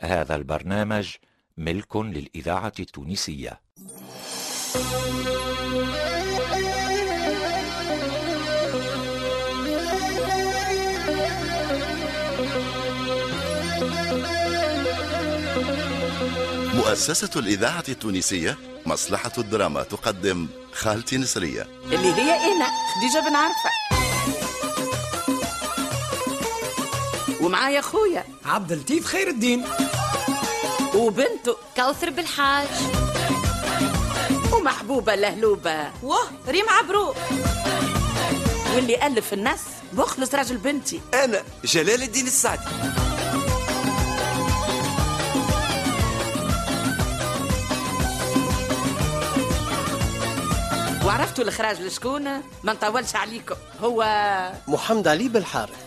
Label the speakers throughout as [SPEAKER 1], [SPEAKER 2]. [SPEAKER 1] هذا البرنامج ملك للإذاعة التونسية
[SPEAKER 2] مؤسسة الإذاعة التونسية مصلحة الدراما تقدم خالتي نسرية
[SPEAKER 3] اللي هي انا خديجه بن عرفه ومعايا خويا
[SPEAKER 4] عبد اللطيف خير الدين
[SPEAKER 3] وبنته
[SPEAKER 5] كوثر بالحاج
[SPEAKER 3] ومحبوبه لهلوبه
[SPEAKER 5] واه ريم عبروك
[SPEAKER 3] واللي الف الناس مخلص راجل بنتي
[SPEAKER 6] أنا جلال الدين السعدي
[SPEAKER 3] وعرفتوا الاخراج لشكون ما نطولش عليكم هو
[SPEAKER 7] محمد علي بالحارث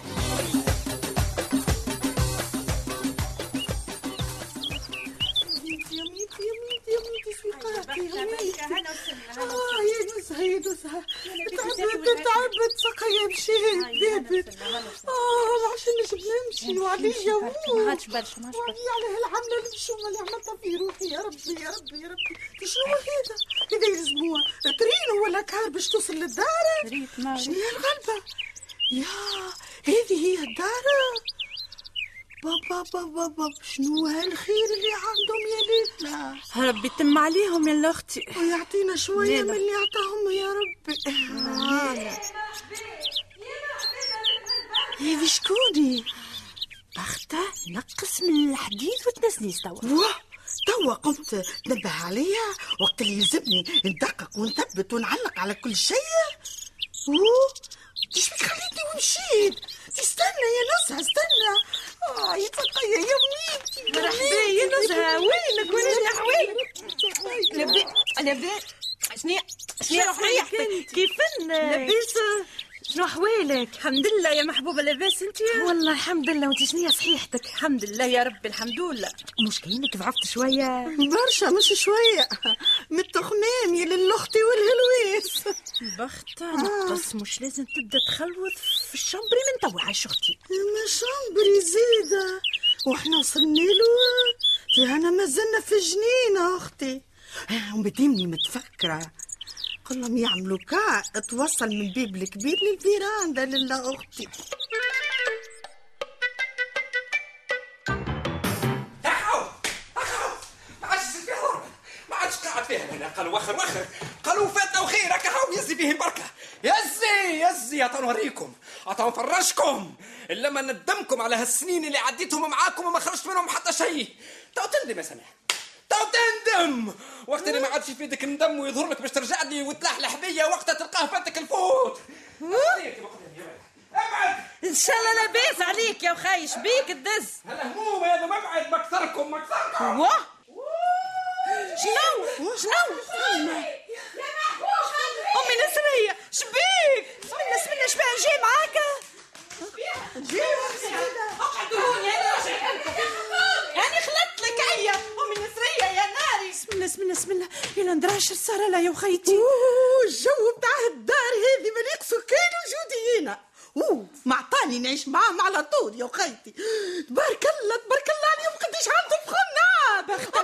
[SPEAKER 8] آه، تعبت تعبت ساقيا مشيت ذابت اه العشاء مش بنمشي وعليا ما عادش برشا ما عادش برشا على هالعمله المشومه اللي عملتها في روحي يا ربي يا ربي يا ربي شنو هذا؟ هذا يلزموها ترين ولا كار باش توصل للدار؟ شنو هي الغلبه؟ يا هذه هي الدار بابا بابا بابا شنو هالخير اللي عندهم يا ليتنا
[SPEAKER 9] ربي تم عليهم يا اختي
[SPEAKER 8] ويعطينا شوية من اللي عطاهم يا ربي هذه شكوني
[SPEAKER 9] إيه، بختة نقص من الحديد وتنسنيس توا
[SPEAKER 8] واه توا قمت تنبه عليا وقت اللي يلزمني ندقق ونثبت ونعلق على كل شيء اوه ايش بك خليتني ومشيت استنى يا نزهة استنى اه يا تقية يا ميتي
[SPEAKER 9] مرحبا يا نزهة وينك وين أحوالك لبي لبي شنو شنو ريحتك كيفن لبيسة شنو أحوالك الحمد لله يا محبوبة لاباس أنت والله الحمد لله وأنت شنو صحيحتك الحمد لله يا ربي الحمد لله مش كأنك ضعفت شوية
[SPEAKER 8] برشا مش شوية من التخمامي للأختي والهلويس آه.
[SPEAKER 9] بختة نقص مش لازم تبدا تخلوث في الشمبري من توا عايش أختي
[SPEAKER 8] ما شمبري زيدة واحنا وصلنا له تيانا ما زلنا في جنينة أختي آه، ومدامني متفكرة كلهم يعملوا كاع اتوصل من باب الكبير للفيراندا لله أختي
[SPEAKER 6] تعاو تعاو ما عادش يصير فيها ضربة ما عادش قاعد فيها هنا قالوا وخر وخر قالوا فاتنا وخير هكا هاو يزي به البركة يزي يزي عطا نوريكم عطا نفرجكم إلا ما ندمكم على هالسنين اللي عديتهم معاكم وما خرجت منهم حتى شيء تو تندم يا سماح تو تندم وقت اللي ما عادش يفيدك الندم ويظهر لك باش ترجع لي وتلحلح بيا وقتها تلقاه فاتك الفوت ابعد
[SPEAKER 9] إن شاء الله لاباس عليك يا وخايش بيك الدز
[SPEAKER 6] هالهموم هذا مبعد مكثركم مكثركم
[SPEAKER 9] واه شنو شنو امي نسرية شبيك من نسمنا شبيه جاي معاك
[SPEAKER 8] يعني
[SPEAKER 9] هاني خلطت لك هيا امي نسرية يا ناري
[SPEAKER 8] سمنا سمنا سمنا يا ندراش السهرة لا يا وخيتي اوه الجو بتاع الدار هذه ما يقصوا كانوا جودي هنا اوه معطاني نعيش معاهم على طول يا وخيتي تبارك الله تبارك الله عليهم قديش عندهم خنا بخت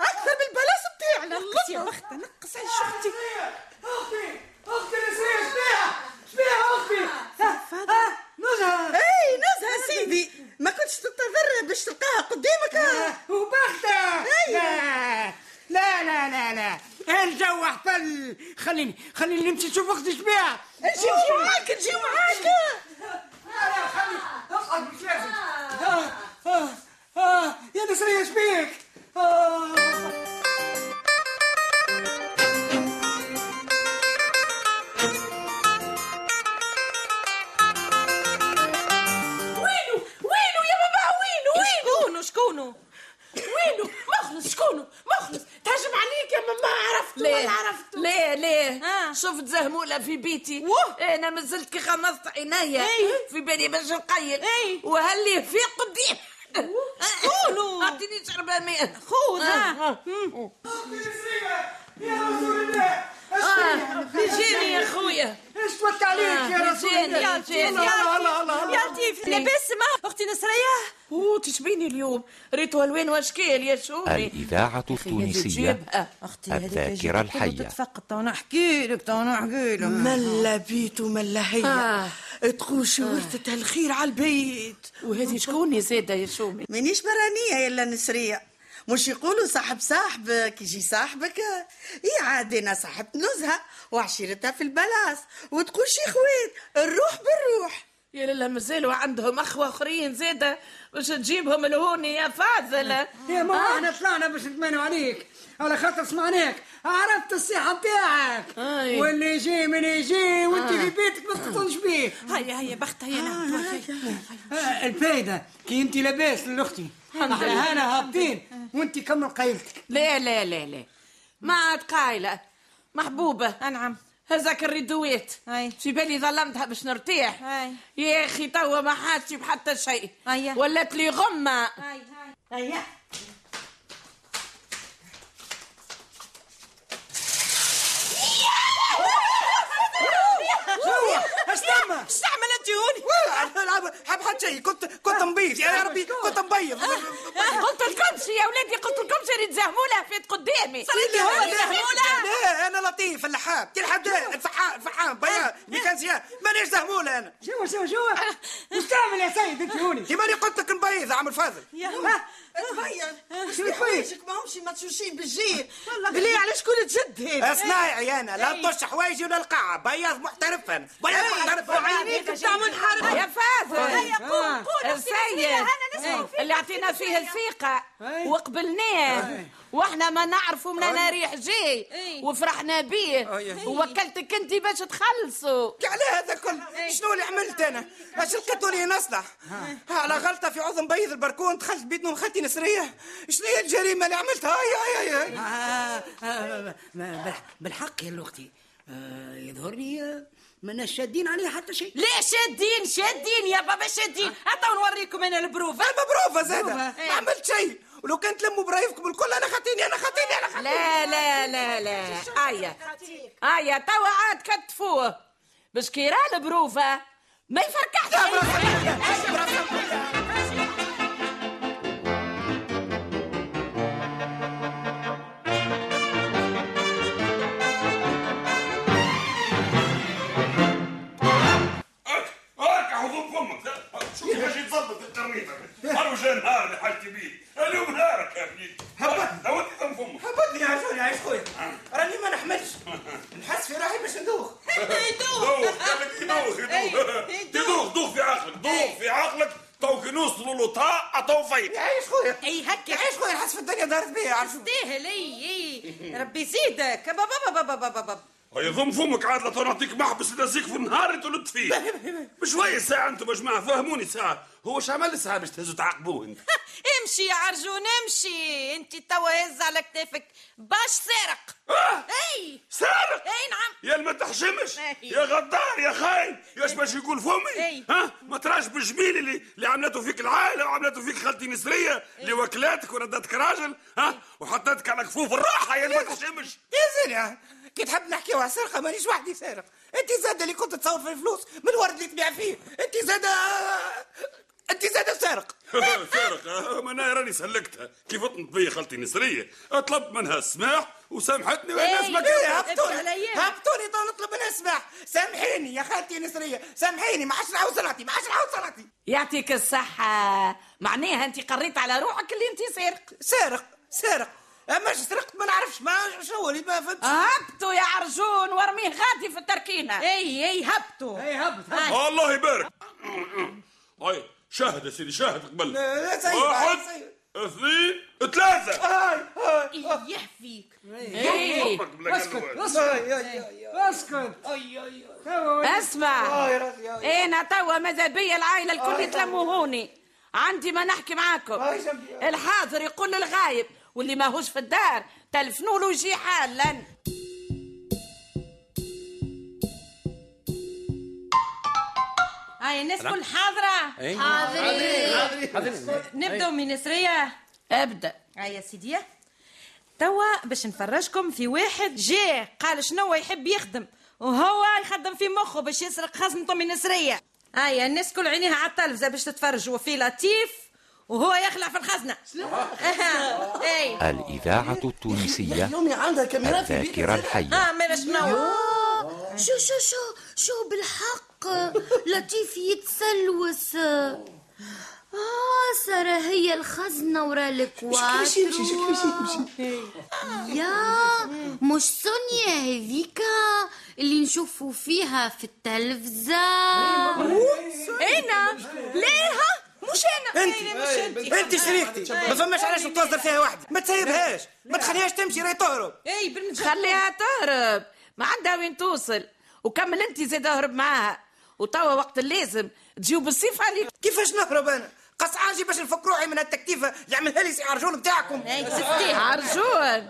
[SPEAKER 8] اكثر من البلاس بتاعنا
[SPEAKER 9] نقص يا بختة نقص على شفتي
[SPEAKER 6] اخفي اخفي نسير شبيها شبيها اخفي نزهة
[SPEAKER 8] اي نزهة سيدي ما كنتش تتضرر باش تلقاها قدامك آه.
[SPEAKER 10] وبختة لا لا لا لا لا الجو احفل خليني خليني نمشي نشوف وقتي شبيها
[SPEAKER 8] نجيو معاك نجيو معاك
[SPEAKER 6] لا لا خلي اقعد مش لازم آه، آه، آه، يا نسرية شبيك آه.
[SPEAKER 9] وينو وينو يا بابا وينو وينو شكونو شكونو وينو مخلص شكونو مخلص تهجم عليك يا ماما عرفت
[SPEAKER 3] ليه
[SPEAKER 9] والله عرفت
[SPEAKER 3] ليه ليه
[SPEAKER 9] آه.
[SPEAKER 3] شفت زهمولة في بيتي
[SPEAKER 9] واه.
[SPEAKER 3] انا مازلت كي غمضت عينيا
[SPEAKER 9] إيه.
[SPEAKER 3] في بالي باش نقيل
[SPEAKER 9] إيه.
[SPEAKER 3] وهلي في قدام
[SPEAKER 9] شكونو
[SPEAKER 3] اعطيني شربة ماء
[SPEAKER 9] خذ
[SPEAKER 3] آه.
[SPEAKER 9] ها
[SPEAKER 10] يا رسول الله
[SPEAKER 3] آه، بيجيني يا خويا
[SPEAKER 10] ايش فت عليك
[SPEAKER 3] آه،
[SPEAKER 10] يا رسول
[SPEAKER 3] بيجيني،
[SPEAKER 10] الله
[SPEAKER 9] يا
[SPEAKER 3] بيجيني.
[SPEAKER 9] لطيف يا لطيف لاباس ما اختي حبيبتي نسرية
[SPEAKER 3] اوه تشبيني اليوم ريتو الوان واشكال يا شومي
[SPEAKER 11] الإذاعة التونسية
[SPEAKER 3] جيبها.
[SPEAKER 8] اختي هذيك
[SPEAKER 11] الذاكرة الحية
[SPEAKER 8] تتفقد تو نحكي لك تو نحكي لك
[SPEAKER 4] ملا بيت وملا هي تقوش ورثة الخير على البيت
[SPEAKER 3] وهذه شكون زاده يا شومي
[SPEAKER 4] مانيش برانية يلا نسرية مش يقولوا صاحب صاحبك يجي صاحبك اي عاد انا صاحبت نزهة وعشيرتها في البلاص وتقول شي خوات الروح بالروح
[SPEAKER 3] يا لالا مازالوا عندهم اخوه اخرين زاده باش تجيبهم لهوني يا فاضل
[SPEAKER 6] يا ماما احنا طلعنا باش نتمنوا عليك على خاطر سمعناك عرفت الصحة نتاعك
[SPEAKER 3] أي.
[SPEAKER 6] واللي يجي من يجي وانت في بيتك ما تقطنش بيه
[SPEAKER 9] هيا هيا بختها يا نعم
[SPEAKER 6] آه، الفايدة كي انت لاباس لأختي احنا هانا هابطين وانت كمل قايلتك
[SPEAKER 3] لا لا لا لا ما عاد قايله محبوبه
[SPEAKER 9] نعم
[SPEAKER 3] هذاك الريدويت
[SPEAKER 9] أي.
[SPEAKER 3] في بالي ظلمتها باش نرتاح
[SPEAKER 9] أي.
[SPEAKER 3] يا اخي توا ما حاسش بحتى شيء
[SPEAKER 9] أي.
[SPEAKER 3] ولات لي غمه
[SPEAKER 9] هاي هاي
[SPEAKER 4] هيا
[SPEAKER 6] اش تم؟
[SPEAKER 12] استعمل انت هوني حب حد شيء كنت كنت مبيض يا ربي كنت مبيض
[SPEAKER 3] قلت لكمش يا ولادي قلت لكمش اللي تزاهموا لها فات قدامي
[SPEAKER 12] لا،
[SPEAKER 9] إيه
[SPEAKER 12] لا، لا انا لطيف اللحام تلحم الفحام الفحام
[SPEAKER 6] آه.
[SPEAKER 12] بيان ميكانسيان مانيش زهموله انا
[SPEAKER 6] شو شو شو
[SPEAKER 9] آه.
[SPEAKER 6] وش تعمل يا سيد انت هوني؟
[SPEAKER 12] كيما اللي قلت لك مبيض عم الفاضل
[SPEAKER 4] تبين
[SPEAKER 6] شو تبين؟
[SPEAKER 4] ما همش متشوشين بالجيل بلي على شكون تجد هذا
[SPEAKER 12] صنايعي انا
[SPEAKER 6] إيه.
[SPEAKER 12] لا طش حوايجي ولا القاعه بياض محترف انا بياض محترف
[SPEAKER 4] عينيك بتعمل حرب
[SPEAKER 3] يا
[SPEAKER 12] إيه.
[SPEAKER 3] فاضل
[SPEAKER 6] آه.
[SPEAKER 3] آه. السيد آه. اللي عطينا فيه الثقة
[SPEAKER 12] آه.
[SPEAKER 6] أي.
[SPEAKER 3] وقبلناه واحنا ما نعرفوا من انا ريح جاي
[SPEAKER 12] إيه.
[SPEAKER 9] أي.
[SPEAKER 3] وفرحنا بيه
[SPEAKER 12] آه،
[SPEAKER 3] ووكلتك انت باش تخلصوا
[SPEAKER 12] على هذا كل إيه. شنو اللي عملت انا اش لقيتوا لي نصلح
[SPEAKER 6] آه.
[SPEAKER 12] على غلطه في عظم بيض البركون دخلت بيت نوم خالتي نسريه شنو هي الجريمه اللي عملتها
[SPEAKER 9] أيوة،
[SPEAKER 12] هاي هاي هاي
[SPEAKER 6] آه، آه، ما- بالح- بالحق يا لأختي آه، يظهر لي آه، منا شادين عليه حتى شيء آه.
[SPEAKER 9] ليه شادين شادين يا بابا شادين هاتوا نوريكم انا البروفة
[SPEAKER 12] مبروفه زاده ما عملت شيء ولو كان تلموا برايفكم الكل انا خاطيني انا خاطيني انا خاطيني
[SPEAKER 3] لا لا لا لا ايا ايا توا عاد كتفوه باش كيرا البروفة ما يفركحش
[SPEAKER 13] هاك عظم فمك شوف باش يتظبط القرنيطه مرة جا نهار اللي حاجتي بيه اليوم نهارك يا بنيت
[SPEAKER 12] هبط.
[SPEAKER 13] لو انت ضم فمك آه.
[SPEAKER 12] هبطني يا عيشوني يا عيش خويا راني ما نحملش نحس في روحي باش ندوخ
[SPEAKER 13] دوخ قال لك يدوخ
[SPEAKER 9] إيه،
[SPEAKER 13] يدوخ يدوخ دوخ في عقلك دوخ في عقلك توك نوصلوا لطاء عطوا فيك
[SPEAKER 12] يا عيش خويا
[SPEAKER 9] اي
[SPEAKER 12] يا
[SPEAKER 9] هكا
[SPEAKER 12] عيش خويا نحس في الدنيا دارت بيا عارف
[SPEAKER 9] تستاهل اي اي ربي يزيدك بابا بابا بابا بابا
[SPEAKER 13] هيا ضم فمك عاد لا تو نعطيك محبس لازيك في النهار تلد فيه بشويه ساعه انتم يا جماعه فهموني ساعه هو اش عمل ساعه باش تهزوا تعاقبوه انت
[SPEAKER 9] امشي يا عرجون امشي انت توا هز على كتافك باش سارق
[SPEAKER 13] آه،
[SPEAKER 9] اي
[SPEAKER 13] سارق
[SPEAKER 9] اي نعم
[SPEAKER 13] يا اللي ما تحشمش
[SPEAKER 12] إيه.
[SPEAKER 9] أي.
[SPEAKER 13] يا غدار يا خاين يا اش باش يقول
[SPEAKER 9] أي.
[SPEAKER 13] فمي ها ما تراش بالجميل اللي اللي عملته فيك العائله وعملته فيك خالتي نسريه
[SPEAKER 12] إيه.
[SPEAKER 13] اللي وكلاتك وردتك راجل ها وحطتك على كفوف الراحه يا اللي ما تحشمش
[SPEAKER 12] يا زينة كي تحب نحكيو على السرقة مانيش وحدي سارق انت زادة اللي كنت تصور في الفلوس من الورد اللي تبيع فيه انت زادة انت زادة سارق
[SPEAKER 13] فارق آه، ما انا راني سلكتها كيف طنت بيا خالتي نسريه طلبت منها السماح وسامحتني والناس ما
[SPEAKER 12] إيه،
[SPEAKER 13] كانت
[SPEAKER 12] هبطوني هبطوني تو نطلب منها سماح سامحيني يا خالتي نسرية سامحيني ما عادش نعاود صلاتي ما عادش نعاود صلاتي
[SPEAKER 3] يعطيك الصحة معناها انت قريت على روحك اللي انت سارق
[SPEAKER 12] سارق سارق اما اش سرقت ما نعرفش ما شو اللي ما فهمتش
[SPEAKER 3] هبطوا يا عرجون وارميه غادي في التركينة آه.
[SPEAKER 9] اي اي هبطوا
[SPEAKER 6] اي هبط هبط
[SPEAKER 12] إيه.
[SPEAKER 13] الله يبارك هاي شاهد يا سيدي شاهد قبل
[SPEAKER 12] لا، آه. لا، سيد،
[SPEAKER 13] واحد
[SPEAKER 12] سيد.
[SPEAKER 13] اثنين ثلاثه
[SPEAKER 12] هاي هاي
[SPEAKER 9] ايه فيك إيه.
[SPEAKER 3] ايه
[SPEAKER 13] أمك بلا
[SPEAKER 6] إيه. اسكت
[SPEAKER 13] قلوات.
[SPEAKER 6] اسكت
[SPEAKER 12] هاي هاي
[SPEAKER 6] اسكت
[SPEAKER 9] أيوة،
[SPEAKER 6] توا
[SPEAKER 3] اسمع
[SPEAKER 12] هاي راسي، هاي
[SPEAKER 3] انا توا ماذا بيا العائلة
[SPEAKER 12] آه.
[SPEAKER 3] الكل يتلموا هوني عندي ما نحكي معاكم
[SPEAKER 12] هاي جنبي.
[SPEAKER 3] الحاضر يقول للغايب واللي ماهوش في الدار تلفنوا له يجي حالا
[SPEAKER 9] هاي الناس كل حاضرة
[SPEAKER 3] إيه؟
[SPEAKER 14] حاضرين
[SPEAKER 9] نبدأ من نسرية
[SPEAKER 3] ابدا
[SPEAKER 9] هاي يا سيدي توا باش نفرجكم في واحد جا قال شنو يحب يخدم وهو يخدم في مخه باش يسرق خزنته من نسرية هيا الناس كل عينيها على التلفزه باش تتفرج وفي لطيف وهو يخلع في الخزنه أها، إيه. اي
[SPEAKER 11] الإذاعة التونسية
[SPEAKER 9] يومي عندها كاميرا في بيتها.
[SPEAKER 11] الذاكرة الحية
[SPEAKER 9] اه ما شنو
[SPEAKER 15] آه، شو شو شو شو بالحق لطيف يتسلوس اه سارة هي الخزنة ورا الكواترو
[SPEAKER 8] شكلي شي- شكلي شي-
[SPEAKER 4] آه.
[SPEAKER 15] يا مش سونيا هذيكا اللي نشوفوا فيها في التلفزة
[SPEAKER 9] انا ليها مش انا
[SPEAKER 6] انت انت إيه، شريكتي ما فماش علاش توصل فيها وحدي ما تسيبهاش ما تخليهاش تمشي راهي تهرب
[SPEAKER 9] اي بالنجم
[SPEAKER 3] خليها تهرب ما عندها وين توصل وكمل انت زاد اهرب معاها وتوا وقت اللازم تجيو بالسيف عليك
[SPEAKER 6] كيفاش نهرب انا قصعانجي باش نفك روحي من التكتيفه اللي عملها لي سي عرجون بتاعكم
[SPEAKER 3] عرجون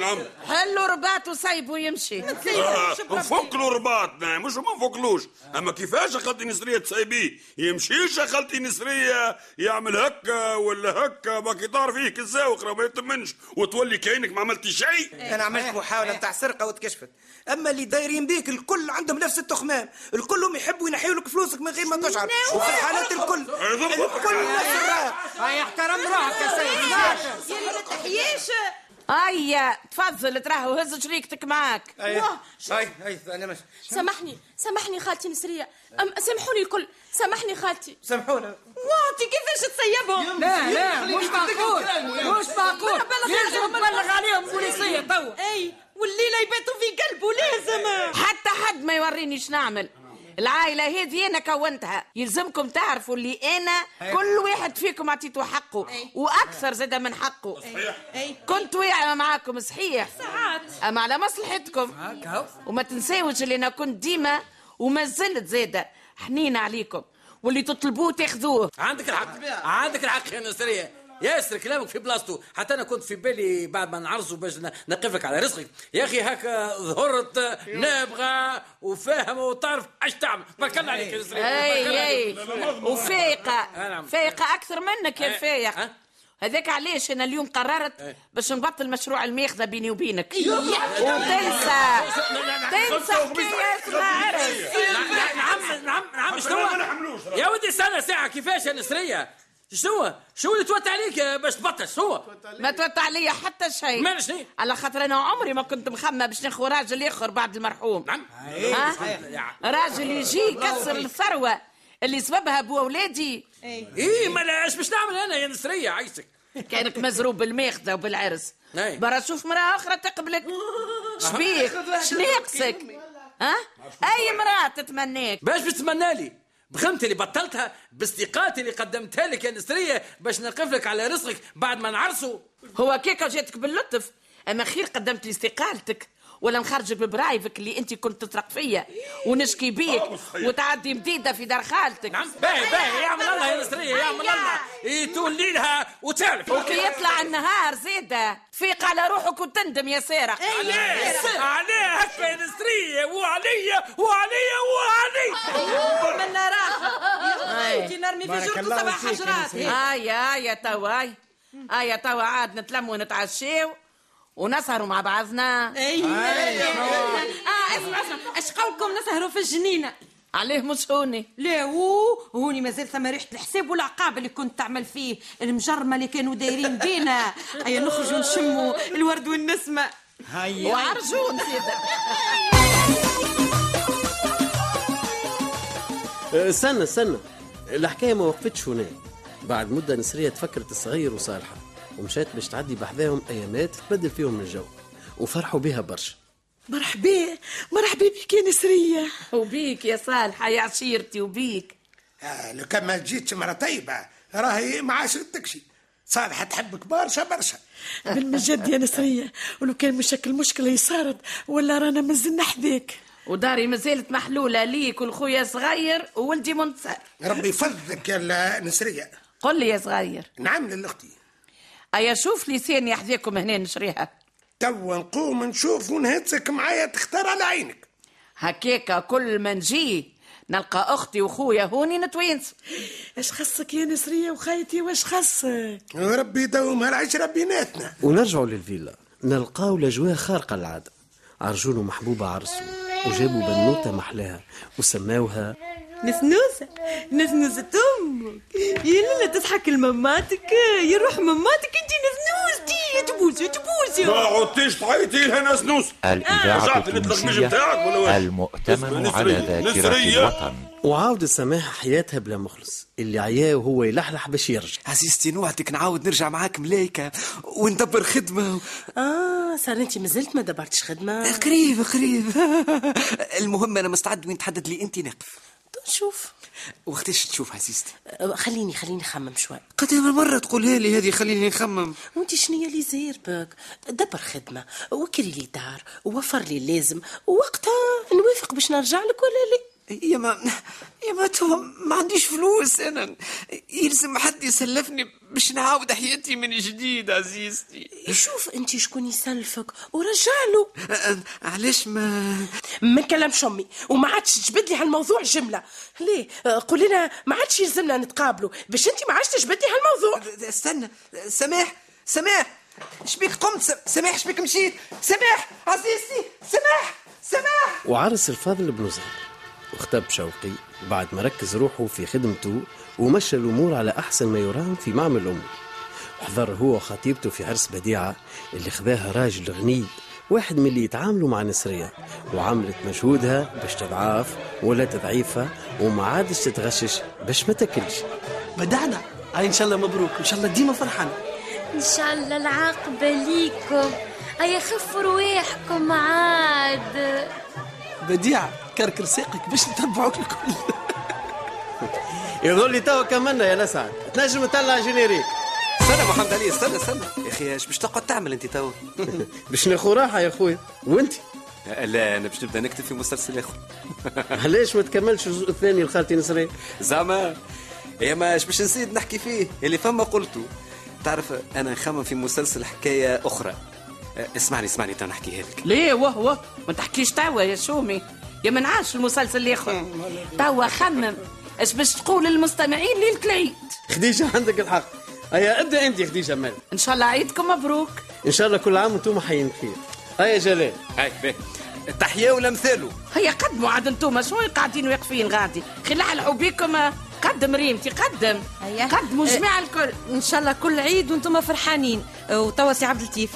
[SPEAKER 13] نعم
[SPEAKER 3] حلوا رباط وسيبوا يمشي
[SPEAKER 13] آه، نفك له رباطنا مش ما نفكلوش اما كيفاش خالتي نسريه تسيبيه يمشيش خالتي نسريه يعمل هكا ولا هكا باكي طار فيه كزاوق ما يطمنش وتولي كانك ما عملتي شيء
[SPEAKER 6] انا إيه. عملت محاوله نتاع سرقه وتكشفت اما اللي دايرين بيك الكل عندهم نفس التخمام الكلهم يحبوا ينحيوا لك فلوسك من غير ما تشعر وفي الحالات الكل الكل نفس الراي هاي احترم روحك يا سيدي
[SPEAKER 3] يلي ما تحييش هيا تفضل تراهو هز شريكتك معاك
[SPEAKER 6] هاي هاي انا مش
[SPEAKER 16] سامحني سامحني خالتي نسرية أم سامحوني الكل سامحني خالتي
[SPEAKER 6] سامحونا
[SPEAKER 16] وانت كيفاش تسيبهم
[SPEAKER 6] لا، لا، مش معقول، مش معقول.
[SPEAKER 16] لازم تبلغ عليهم بوليسية توا اي والليلة يباتوا في قلبه لازم
[SPEAKER 3] حتى حد ما يوريني شنو نعمل العائلة هذه أنا كونتها يلزمكم تعرفوا اللي أنا
[SPEAKER 9] أي.
[SPEAKER 3] كل واحد فيكم أعطيته حقه
[SPEAKER 9] أي.
[SPEAKER 3] وأكثر زاد من حقه كنت واعية معاكم صحيح
[SPEAKER 9] ساعات.
[SPEAKER 3] أما على مصلحتكم وما تنساوش اللي أنا كنت ديما وما زلت زادة حنينة عليكم واللي تطلبوه تاخذوه
[SPEAKER 1] عندك الحق عندك الحق يا نصرية ياسر كلامك في بلاصته حتى انا كنت في بالي بعد ما نعرضوا باش ن- نقفك على رزقك يا اخي هكا ظهرت نابغه وفاهمه وتعرف اش تعمل بكل عليك يا نصرية بارك الله
[SPEAKER 3] اي اي
[SPEAKER 1] عليك.
[SPEAKER 3] وفايقه
[SPEAKER 1] آه، نعم.
[SPEAKER 3] فايقه اكثر منك يا
[SPEAKER 1] آه،
[SPEAKER 3] الفايق هذاك علاش انا اليوم قررت باش نبطل مشروع الماخذه بيني وبينك وتنسى تنسى حكايات ما عرفت
[SPEAKER 1] نعم نعم نعم نعم شنو يا ودي سنه ساعه كيفاش يا نصرية شنو شنو اللي توت عليك باش تبطل شنو
[SPEAKER 3] ما توت عليا حتى شيء
[SPEAKER 1] مال شنو؟
[SPEAKER 3] على خاطر انا عمري ما كنت مخمه باش ناخذ راجل اخر بعد المرحوم
[SPEAKER 1] نعم
[SPEAKER 3] ها؟ راجل يجي يكسر الثروه اللي سببها بو اولادي
[SPEAKER 1] ايه ما لا، اش باش نعمل انا يا نصرية عايشك
[SPEAKER 3] كانك مزروب بالماخذه وبالعرس
[SPEAKER 1] أي.
[SPEAKER 3] برا شوف مراه اخرى تقبلك شبيك شنيقسك ها اي مراه تتمناك
[SPEAKER 1] باش بتتمنى لي بخمتي اللي بطلتها باستيقاتي اللي قدمتها لك يا نسريه باش نقف لك على رزقك بعد ما نعرسوا
[SPEAKER 3] هو كيكا جاتك باللطف اما خير قدمت لي استقالتك ولا نخرجك ببرايفك اللي انت كنت تطرق فيا ونشكي بيك وتعدي مديده في دار خالتك أيوة. نعم
[SPEAKER 1] باهي باهي يعمل الله يا نسريه يعمل الله إيه، تولي لها وتعرف
[SPEAKER 3] وكي يطلع النهار زيدا تفيق على روحك وتندم يا سارة
[SPEAKER 1] عليه عليه هكا يا نسريه وعليا وعليا
[SPEAKER 3] أيوة.
[SPEAKER 1] وعلي
[SPEAKER 9] من راحه انت نرمي في
[SPEAKER 3] بارك
[SPEAKER 9] جرته
[SPEAKER 3] الله
[SPEAKER 9] سبع
[SPEAKER 3] فيك يا
[SPEAKER 9] حجرات
[SPEAKER 3] نسرين. آي آي توا آي آي توا عاد نتلموا ونتعشاو ونسهروا مع بعضنا
[SPEAKER 16] اي
[SPEAKER 3] آه،
[SPEAKER 16] اه اسمع اسمع اش قولكم نسهروا في الجنينه
[SPEAKER 3] عليه مش هوني
[SPEAKER 16] لا وو، هوني مازال ثم ريحه الحساب والعقاب اللي كنت تعمل فيه المجرمه اللي كانوا دايرين بينا هيا نخرجوا نشموا الورد والنسمه
[SPEAKER 6] هيا.
[SPEAKER 3] وعرجون زيدا
[SPEAKER 7] أه، استنى استنى الحكايه ما وقفتش هنا بعد مده نسريه تفكرت الصغير وصالحه ومشات باش تعدي بحذاهم ايامات تبدل فيهم الجو وفرحوا بها برشا
[SPEAKER 3] مرحبا مرحبا بك يا نسرية وبيك يا صالحة يا عشيرتي وبيك
[SPEAKER 17] آه، لو كان ما جيتش مرة طيبة راهي ما عادش تكشي صالحة تحبك برشا برشا
[SPEAKER 18] بالمجد يا نسرية ولو كان مشكل مشكلة يصارت ولا رانا مازلنا حذاك
[SPEAKER 3] وداري مازالت محلولة ليك والخويا صغير وولدي منتصر
[SPEAKER 17] ربي يفضلك يا النسرية
[SPEAKER 3] قل لي يا صغير
[SPEAKER 17] نعم للأختي
[SPEAKER 3] أيا شوف لي ثانية حذاكم هنا نشريها
[SPEAKER 17] توا نقوم نشوف ونهتسك معايا تختار على عينك
[SPEAKER 3] هكاكا كل ما نجي نلقى أختي وخويا هوني نتوينس
[SPEAKER 18] اش خصك يا نسرية وخيتي واش خصك
[SPEAKER 17] وربي يدومها العشرة بيناتنا
[SPEAKER 7] ونرجعوا للفيلا نلقاو الاجواء خارقه للعاده عرجون ومحبوبه عرسوا وجابوا بنوته محلاها وسماوها
[SPEAKER 14] نسنوسة نسنوسة أمك يا لالا تضحك لماماتك يا روح ماماتك أنت نسنوستي يا تبوسي يا تبوسي
[SPEAKER 13] ما عدتيش تعيطي لها نسنوس
[SPEAKER 11] الإذاعة
[SPEAKER 13] رجعت نطلق نجم
[SPEAKER 11] التونسية
[SPEAKER 13] بتاعك ولا واش؟
[SPEAKER 11] المؤتمن
[SPEAKER 13] نسرية،
[SPEAKER 11] على ذاكرة
[SPEAKER 13] نسرية.
[SPEAKER 11] الوطن
[SPEAKER 7] وعاود السماح حياتها بلا مخلص اللي عياه وهو يلحلح باش يرجع
[SPEAKER 6] عزيزتي نوعدك نعاود نرجع معاك ملايكة وندبر خدمة
[SPEAKER 19] اه صار انت مازلت ما دبرتش خدمه
[SPEAKER 6] قريب قريب المهم أنا مستعد وين تحدد لي أنت نقف
[SPEAKER 19] نشوف
[SPEAKER 6] وقتاش تشوف عزيزتي
[SPEAKER 19] آه، خليني خليني نخمم شوي
[SPEAKER 6] قدام مرة تقولها لي هذه خليني نخمم
[SPEAKER 19] وانت شنيا اللي زاير بك دبر خدمه وكري لي دار ووفر لي اللازم ووقتها نوافق باش نرجع لك ولا لا
[SPEAKER 6] يا ما يا ما توم ما عنديش فلوس أنا يلزم حد يسلفني باش نعاود حياتي من جديد عزيزتي
[SPEAKER 19] شوف انت شكون يسلفك ورجع له
[SPEAKER 6] أه، علاش ما
[SPEAKER 19] ما نكلمش امي وما عادش تجبد لي هالموضوع جمله ليه آه، قول لنا ما عادش يلزمنا نتقابلوا باش انت ما عادش تجبد لي هالموضوع
[SPEAKER 6] أه، استنى سماح سماح شبيك قمت س- سماح شبيك مشيت سماح عزيزتي سماح سماح
[SPEAKER 7] وعرس الفاضل بن زهر وخطب شوقي بعد ما ركز روحه في خدمته ومشى الأمور على أحسن ما يرام في معمل أمه وحضر هو وخطيبته في عرس بديعة اللي خذاها راجل غني واحد من اللي يتعاملوا مع نسرية وعملت مجهودها باش تضعاف ولا تضعيفها وما عادش تتغشش باش ما تاكلش
[SPEAKER 19] بدعنا
[SPEAKER 7] ان شاء الله مبروك ان شاء الله ديما فرحانه
[SPEAKER 15] إن شاء الله العاقبة ليكم أي خفوا رواحكم عاد
[SPEAKER 7] بديعة كركر ساقك باش نتبعوك الكل يظل لي توا كملنا يا لسعد تنجم تطلع جينيريك
[SPEAKER 6] استنى محمد علي استنى استنى يا اخي اش باش تقعد تعمل انت تو
[SPEAKER 7] باش ناخو راحة يا خويا وانت
[SPEAKER 6] لا انا باش نبدا نكتب في مسلسل اخر
[SPEAKER 7] علاش ما تكملش الجزء الثاني لخالتي نسرين
[SPEAKER 6] زعما يا ما اش باش نسيت نحكي فيه اللي فما قلته تعرف انا نخمم في مسلسل حكايه اخرى أه، اسمعني اسمعني تو نحكيها لك
[SPEAKER 3] ليه وه وه ما تحكيش توا يا شومي يا ما نعرفش المسلسل الاخر توا خمم اش باش تقول للمستمعين ليله العيد
[SPEAKER 7] خديجة عندك الحق هيا ابدا انت يا خديجة مال
[SPEAKER 3] ان شاء الله عيدكم مبروك
[SPEAKER 7] ان شاء الله كل عام وانتم حيين بخير هيا جلال
[SPEAKER 6] هاي باهي التحية ولمثاله
[SPEAKER 3] هيا قدموا عاد انتم شنو قاعدين واقفين غادي خلعلعوا بيكم آه، قدم ريمتي قدم
[SPEAKER 1] أه.
[SPEAKER 3] قدموا جماعه
[SPEAKER 16] الكل ان شاء الله كل عيد وانتم فرحانين أه، وتوا سي عبد اللطيف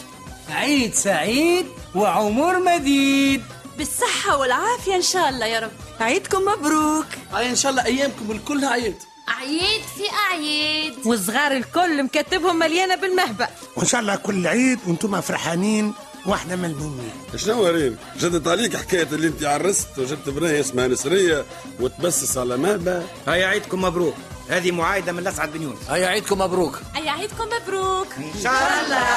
[SPEAKER 20] عيد سعيد وعمر مديد
[SPEAKER 16] بالصحة والعافية إن شاء الله يا رب عيدكم مبروك
[SPEAKER 20] هاي ان شاء الله ايامكم الكل عيد
[SPEAKER 15] أعياد في أعياد
[SPEAKER 16] والصغار الكل مكتبهم مليانة بالمهبة
[SPEAKER 17] وان شاء الله كل عيد وانتم فرحانين واحنا ملمومين
[SPEAKER 13] شنو ريم جدت عليك حكايه اللي انت عرست وجبت بنيه اسمها نسريه وتبسس على مهبه
[SPEAKER 6] هيا عيدكم مبروك هذه معايده من الاسعد بن يونس
[SPEAKER 1] هيا عيدكم مبروك
[SPEAKER 14] أي عيدكم مبروك إن
[SPEAKER 6] شاء الله.